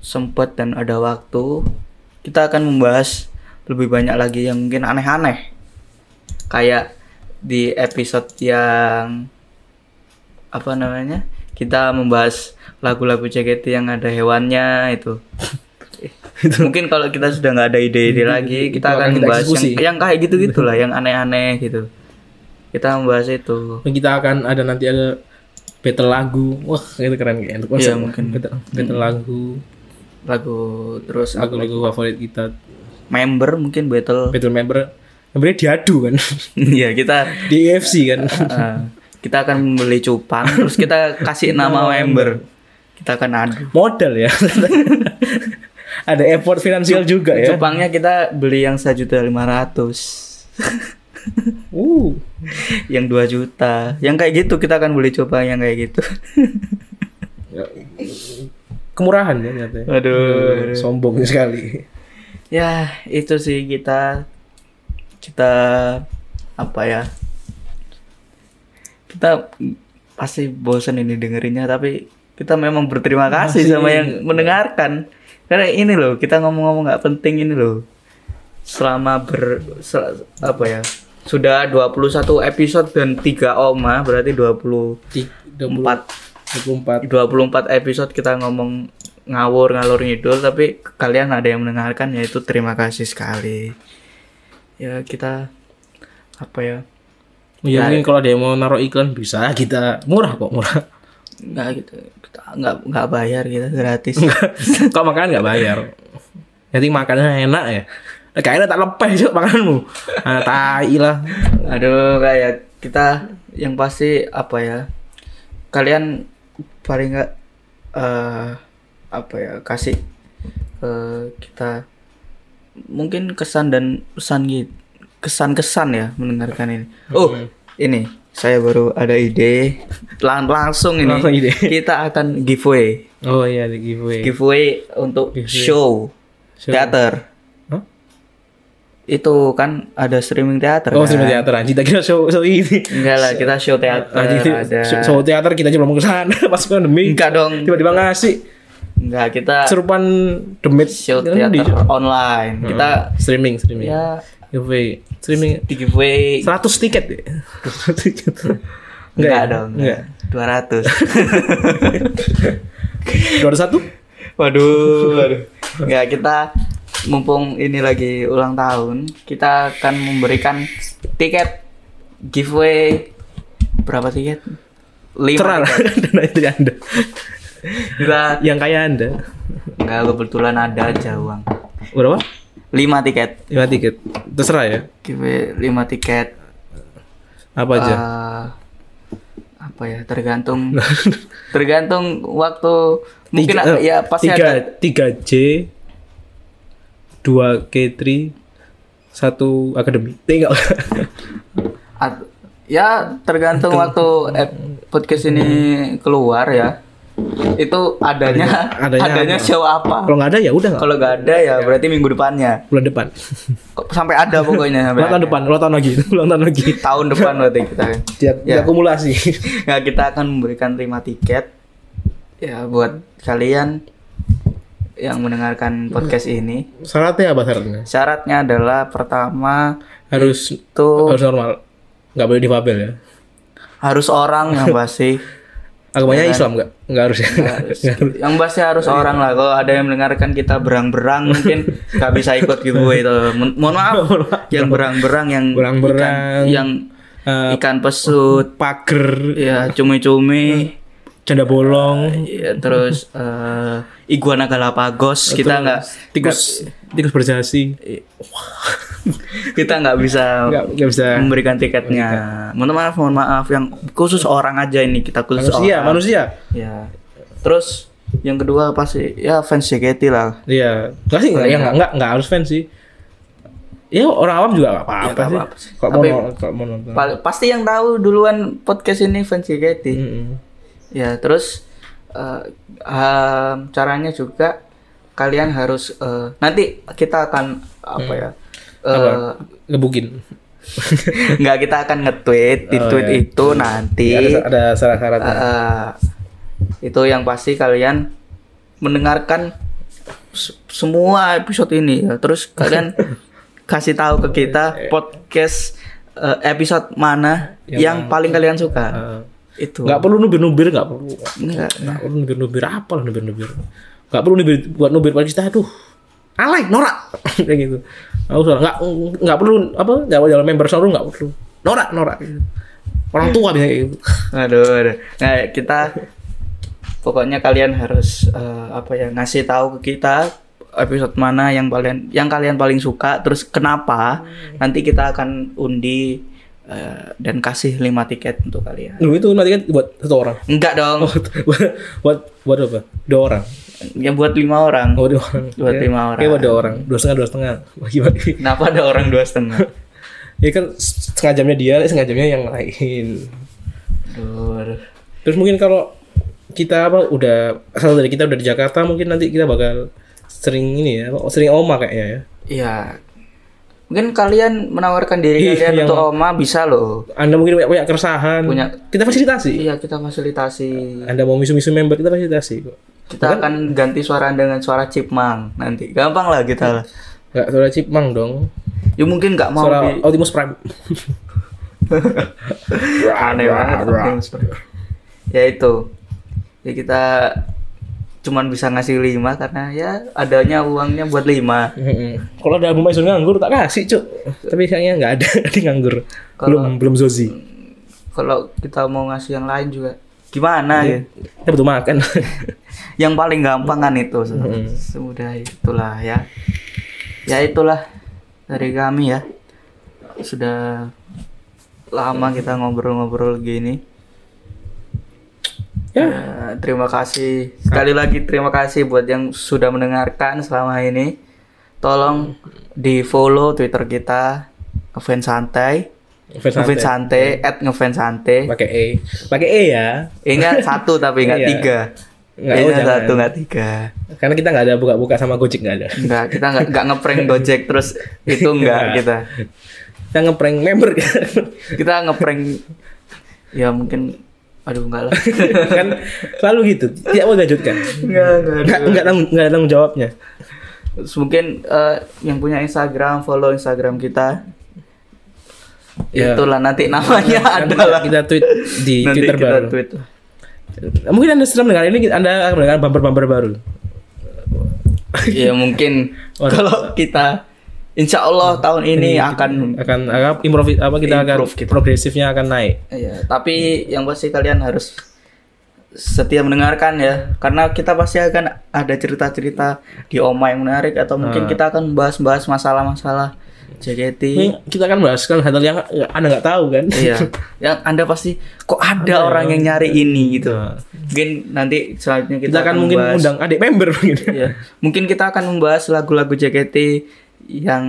S4: sempat dan ada waktu, kita akan membahas lebih banyak lagi yang mungkin aneh-aneh. Kayak di episode yang apa namanya? Kita membahas lagu-lagu JKT yang ada hewannya itu. mungkin kalau kita sudah nggak ada ide-ide lagi, kita
S5: akan
S4: akan
S5: kita
S4: membahas
S5: eksekusi.
S4: yang, yang kayak gitu-gitu lah, yang aneh-aneh gitu. Kita membahas itu.
S5: Kita akan ada nanti ada battle lagu. Wah, itu keren kayak
S4: Iya, mungkin.
S5: Battle, battle lagu.
S4: Lagu terus
S5: Lagu-lagu favorit kita.
S4: member mungkin battle.
S5: Battle member. Membernya diadu kan.
S4: Iya, kita
S5: Di EFC kan.
S4: Eh, kita akan membeli cupang terus kita kasih nama member
S5: Iya.
S4: kita akan adu
S5: Modal ya. ada effort finansial juga ya.
S4: cupangnya kita beli yang satu juta lima
S5: Uh.
S4: yang 2 juta yang kayak gitu kita akan beli cupang yang kayak gitu
S5: Kemurahan ya nyatanya.
S4: aduh
S5: Sombong sekali.
S4: ya itu sih kita kita apa ya kita pasti bosan ini dengerinnya tapi kita memang berterima kasih sama yang mendengarkan karena ini loh kita ngomong-ngomong nggak penting ini loh selama ber sel- apa ya sudah 21 episode dan 3 oma berarti 24
S5: Di- 20, 24.
S4: 24 episode kita ngomong ngawur ngalur ngidul tapi kalian ada yang mendengarkan yaitu terima kasih sekali ya kita apa ya
S5: Ya, mungkin kalau ada yang mau naruh iklan bisa kita murah kok murah.
S4: nggak gitu kita nggak nggak bayar kita gratis
S5: kalau makanan nggak bayar. Nanti makanannya enak ya. Nah, Kayaknya tak lepeh cok makananmu. Ah, tai lah.
S4: aduh kayak kita yang pasti apa ya kalian paling nggak eh apa ya kasih ke kita mungkin kesan dan pesan gitu kesan-kesan ya mendengarkan ini oh ini saya baru ada ide Lang- langsung ini
S5: Langsung ide.
S4: kita akan giveaway
S5: Oh iya ada giveaway.
S4: giveaway untuk show,
S5: Show.
S4: teater
S5: Hah?
S4: itu kan ada streaming teater
S5: Oh
S4: kan?
S5: streaming teater anjing. Kita kira show show ini.
S4: Enggak lah, kita show teater
S5: Anjing
S4: ada.
S5: show, show teater kita aja belum ke sana pas pandemi.
S4: Enggak dong.
S5: Tiba-tiba ngasih
S4: Enggak, kita
S5: serupan demit
S4: show
S5: Kan
S4: teater
S5: di- Hmm.
S4: online. Kita
S5: streaming streaming.
S4: ya
S5: Giveaway streaming
S4: di giveaway
S5: 100 tiket ya. 100 tiket.
S4: enggak
S5: ya?
S4: dong.
S5: Enggak.
S4: 200.
S5: 201?
S4: waduh, waduh. Enggak, kita mumpung ini lagi ulang tahun, kita akan memberikan tiket giveaway berapa tiket? 5
S5: Terang dana dari Nah, Anda.
S4: Kita
S5: Yang kaya Anda.
S4: enggak kebetulan ada aja uang.
S5: Berapa?
S4: 5 tiket.
S5: 5 tiket. Terserah ya.
S4: Giveaway 5 tiket
S5: Apa aja?
S4: Eh, apa ya tergantung tergantung waktu mungkin
S5: Tiga- eh,
S4: ya pasti
S5: tiga,
S4: ada
S5: 3J 2 K3 1 akademi. Tengok.
S4: at- ya tergantung waktu ep- podcast ini keluar ya itu adanya adanya,
S5: Iya, Adanya- adanya apa?
S4: show apa
S5: Kalau nggak ada ya udah nggak.
S4: kalau nggak ada ya berarti minggu depannya
S5: bulan depan.
S4: Kok- sampai ada pokoknya sampai
S5: Ulang tahun
S4: ada.
S5: depan, ulang tahun lagi, ulang tahun lagi.
S4: tahun depan berarti kita
S5: Dia
S4: Ya.
S5: akumulasi.
S4: ya kita akan memberikan 5 tiket ya buat kalian yang
S5: Iya.
S4: mendengarkan podcast ini
S5: Syaratnya apa syaratnya?
S4: Syaratnya adalah pertama
S5: Harus
S4: itu
S5: harus normal. Nggak boleh difabel ya.
S4: harus orang yang pasti
S5: Agamanya Islam nggak? Nggak harus ya.
S4: harus, yang pasti harus orang lah. Kalau ada yang mendengarkan kita berang-berang mungkin nggak bisa ikut gitu itu. Mo- Mohon maaf yang berang-berang yang ikan,
S5: Berang-berang.
S4: yang
S5: Eh,
S4: ikan pesut,
S5: Pager,
S4: ya cumi-cumi,
S5: canda bolong,
S4: ya, terus eh, iguana galapagos kita nggak
S5: Eh, tikus tikus berjasi.
S4: Iya. kita nggak bisa
S5: Nggak nggak bisa.
S4: memberikan tiketnya. Mohon maaf, mohon maaf yang khusus orang aja ini kita khusus
S5: Manusia,
S4: orang.
S5: manusia.
S4: Ya. Terus yang kedua pasti ya fans JKT lah.
S5: Iya. Enggak sih, nggak- ya nggak nggak nggak harus fans sih. Ya orang awam juga nggak apa-apa
S4: Iya, nggak
S5: sih.
S4: apa-apa sih.
S5: Kok mau
S4: Tapi-
S5: nol- kok mau nonton?
S4: Pal- pasti yang tahu duluan podcast ini fans JKT.
S5: Mm-mm.
S4: Ya, terus eh, em, caranya juga kalian harus eh, nanti kita akan apa ya?
S5: Hmm. Apa?
S4: eh,
S5: Ngebukin.
S4: nggak kita akan nge-tweet di
S5: Oh,
S4: tweet
S5: iya.
S4: itu nanti.
S5: Ada, ada syarat-syarat.
S4: eh, eh, itu yang pasti kalian mendengarkan se- semua episode ini ya. Terus kalian kasih tahu ke kita podcast eh, episode mana yang, paling kalian suka. itu.
S5: Nggak perlu nubir-nubir, nggak perlu.
S4: Nggak.
S5: Nggak perlu nubir-nubir apa lah nubir-nubir. Nggak perlu nubir buat nubir pada kita. Aduh, alay, norak kayak gitu. Nggak usah, nggak nggak perlu apa jalan jalan member showroom nggak perlu. Norak, norak. gitu. Orang tua biasanya kayak gitu.
S4: Aduh, aduh. Nah, kita pokoknya kalian harus eh, apa ya ngasih tahu ke kita episode mana yang kalian yang kalian paling suka, terus kenapa?
S5: Hmm.
S4: Nanti kita akan undi eh, dan kasih 5 tiket untuk kalian.
S5: Lu itu nanti kan buat satu orang.
S4: Enggak dong,
S5: buat buat buat apa? Dua orang.
S4: ya buat lima orang.
S5: Oh, dua orang.
S4: Buat
S5: Ya.
S4: lima orang.
S5: Kayak buat dua orang. Dua setengah, dua setengah. Bagi-bagi.
S4: Kenapa ada orang dua setengah?
S5: Ya kan setengah jamnya dia, setengah jamnya yang lain.
S4: Aduh, aduh.
S5: Terus mungkin kalau kita apa udah asal dari kita udah di Jakarta mungkin nanti kita bakal sering ini ya, apa, sering oma kayaknya ya.
S4: Iya. Mungkin kalian menawarkan diri
S5: Iya,
S4: kalian
S5: yang-
S4: untuk Oma bisa loh.
S5: Anda mungkin punya, punya keresahan,
S4: Punya.
S5: kita fasilitasi.
S4: Iya, kita fasilitasi.
S5: Anda mau misu-misu member kita fasilitasi kok.
S4: Kita akan ganti suara dengan suara Chipmang nanti. Gampang lah kita lah.
S5: Enggak suara Cipmang dong.
S4: Ya mungkin nggak mau
S5: Suara
S4: di-
S5: Optimus Prime.
S4: aneh banget. ya itu. Ya kita cuman bisa ngasih lima karena ya adanya uangnya buat lima.
S5: Mm-mm. Kalau ada album Aisun nganggur tak kasih cuk. Tapi kayaknya nggak ada dia nganggur.
S4: Kalau-
S5: Belum belum Zozi.
S4: Kalau kita mau ngasih yang lain juga gimana ya?
S5: Kita butuh makan.
S4: Yang paling gampang kan
S5: Hmm.
S4: itu. Sudah itulah ya. Ya itulah dari kami ya. Sudah lama kita ngobrol-ngobrol gini.
S5: ya,
S4: Eh, terima kasih sekali lagi terima kasih buat yang sudah mendengarkan selama ini tolong di follow twitter kita ngefans santai
S5: Ngefans
S4: ngefans
S5: santai.
S4: santai at ngefans santai
S5: pakai E. Pakai E ya.
S4: ingat satu tapi nggak
S5: Iya.
S4: tiga
S5: Nggak, oh,
S4: ingat
S5: jangan.
S4: satu nggak tiga
S5: Karena kita nggak ada buka-buka sama Gojek nggak ada.
S4: nggak kita nggak nggak ngeprank gojek terus itu nggak
S5: Nggak.
S4: kita
S5: Kita ngeprank member kan.
S4: kita ngeprank ya mungkin aduh nggak lah
S5: kan selalu gitu. Tidak mau dilanjutkan.
S4: nggak
S5: Nggak nggak tanggung nggak ada tanggung jawabnya.
S4: Terus mungkin eh, yang punya Instagram follow Instagram kita.
S5: Ya.
S4: Itulah nanti namanya
S5: iya. Nanti
S4: adalah
S5: kita tweet di
S4: nanti
S5: Twitter
S4: kita
S5: baru.
S4: tweet.
S5: Mungkin Anda sedang mendengar ini Anda akan mendengar bumper-bumper baru.
S4: ya mungkin
S5: Waduh. Iya,
S4: kalau kita Insya Allah tahun ini akan
S5: akan akan improv apa kita akan
S4: Improve gitu.
S5: progresifnya akan naik.
S4: ya, tapi yang pasti kalian harus setia mendengarkan ya karena kita pasti akan ada cerita-cerita di Oma yang menarik atau mungkin kita akan bahas-bahas masalah-masalah
S5: Ah. Ini
S4: JKT
S5: kita akan bahas kan hal yang Anda nggak tahu kan?
S4: Iya, yang Anda pasti kok ada
S5: Iya.
S4: orang yang nyari ini gitu. Mungkin nanti selanjutnya kita,
S5: Kita akan mungkin
S4: membahas,
S5: undang adik member mungkin.
S4: Iya. mungkin kita akan membahas lagu-lagu JKT yang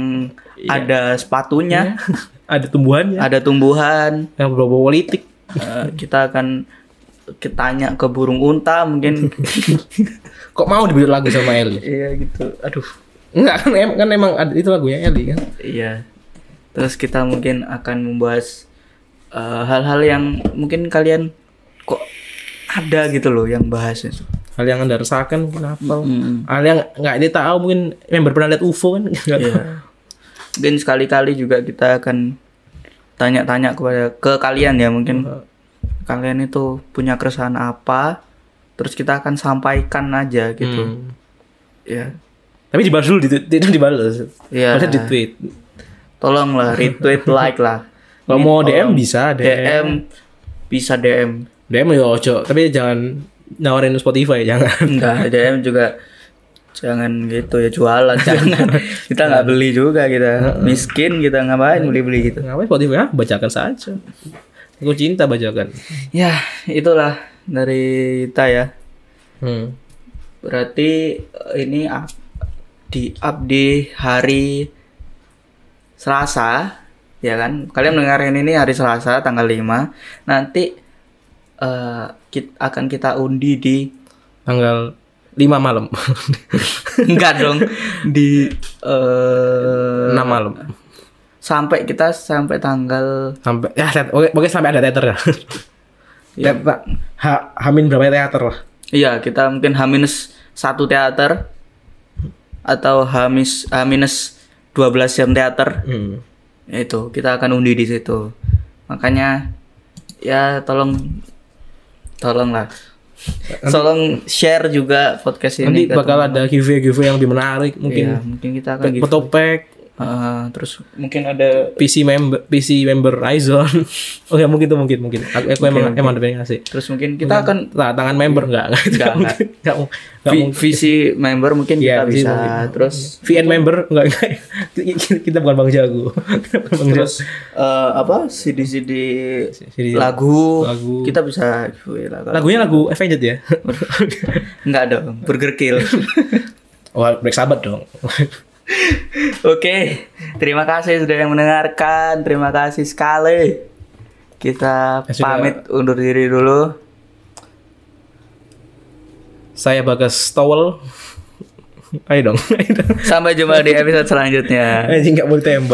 S5: Iya.
S4: ada sepatunya,
S5: ada tumbuhannya,
S4: ada tumbuhan.
S5: yang berbau politik.
S4: Eh, kita akan kita tanya ke burung unta mungkin.
S5: Kok mau dibikin lagu sama Eli?
S4: Iya gitu. Aduh.
S5: Enggak kan, em- kan emang ada, itu lagunya Eli kan?
S4: Iya. Terus kita mungkin akan membahas eh, hal-hal yang mungkin kalian kok ada gitu loh yang bahas itu.
S5: Hal yang anda rasakan mungkin apa?
S4: Mm-mm.
S5: Hal yang nggak dia tahu mungkin member pernah lihat UFO kan? Nggak tahu.
S4: Iya. Mungkin sekali-kali juga kita akan tanya-tanya kepada ke kalian ya mungkin kalian itu punya keresahan apa, terus kita akan sampaikan aja gitu.
S5: Hmm.
S4: Ya.
S5: Tapi dibalas dulu, di tweet, itu dibalas.
S4: Iya.
S5: Padahal di tweet.
S4: Tolonglah retweet like lah.
S5: Kalau mau
S4: Tolong.
S5: DM bisa,
S4: DM.
S5: DM.
S4: bisa DM.
S5: DM ya ojo, tapi jangan nawarin Spotify jangan.
S4: Enggak, DM juga jangan gitu ya jualan jangan kita nggak beli juga kita miskin kita ngapain beli beli gitu
S5: Ngapain Spotify? Ah, bacakan saja. Aku cinta bacakan.
S4: ya itulah dari kita ya
S5: Hmm.
S4: Berarti eh, ini up- di up di hari Selasa, ya kan? Kalian dengerin ini hari Selasa tanggal 5. Nanti eh kit- akan kita undi di
S5: Tanggal 5 malam.
S4: enggak dong di eh
S5: 6 malam.
S4: sampai kita sampai tanggal
S5: Sampai ya set- oke, oke sampai ada teater ya.
S4: Ya.
S5: Ya, Pak. Ha- hamin berapa teater lah.
S4: iya kita mungkin H-1 teater atau H-12 jam teater.
S5: Hmm.
S4: Ya itu kita akan undi di situ makanya ya tolong tolonglah tolong share juga podcast
S5: Nanti
S4: ini ke
S5: bakal
S4: teman.
S5: ada giveaway giveaway yang lebih menarik
S4: Iya,
S5: mungkin.
S4: mungkin kita akan
S5: Pe-
S4: gitu
S5: Petopack,
S4: terus mungkin ada
S5: PC member PC member Izon. Oke, mungkin tuh mungkin mungkin. Aku, aku emang emang ada pengen ngasih.
S4: terus mungkin kita akan
S5: Nah, tangan member enggak enggak
S4: Nggak,
S5: enggak mungkin. Enggak mungkin. Nggak
S4: vi-
S5: mungkin.
S4: visi member mungkin
S5: Iya,
S4: kita
S5: visi Iya.
S4: bisa
S5: mungkin.
S4: terus
S5: VN member enggak enggak. Kita- Kita bukan Bang Jago. Kita bukan Bang Jago.
S4: terus eh, apa CD CD,
S5: CD.
S4: lagu,
S5: Lagu.
S4: kita bisa wih, lagu.
S5: Lagunya lagu Avenged ya.
S4: nggak dong Burger Kill
S5: Wah, break sahabat dong.
S4: Oke, terima kasih sudah yang mendengarkan. Terima kasih sekali. Kita
S5: Ya, sudah.
S4: pamit undur diri dulu.
S5: Saya Bagas Towel. Ayo dong. Ayo dong.
S4: Sampai jumpa di episode selanjutnya.
S5: Anjing enggak boleh tembak.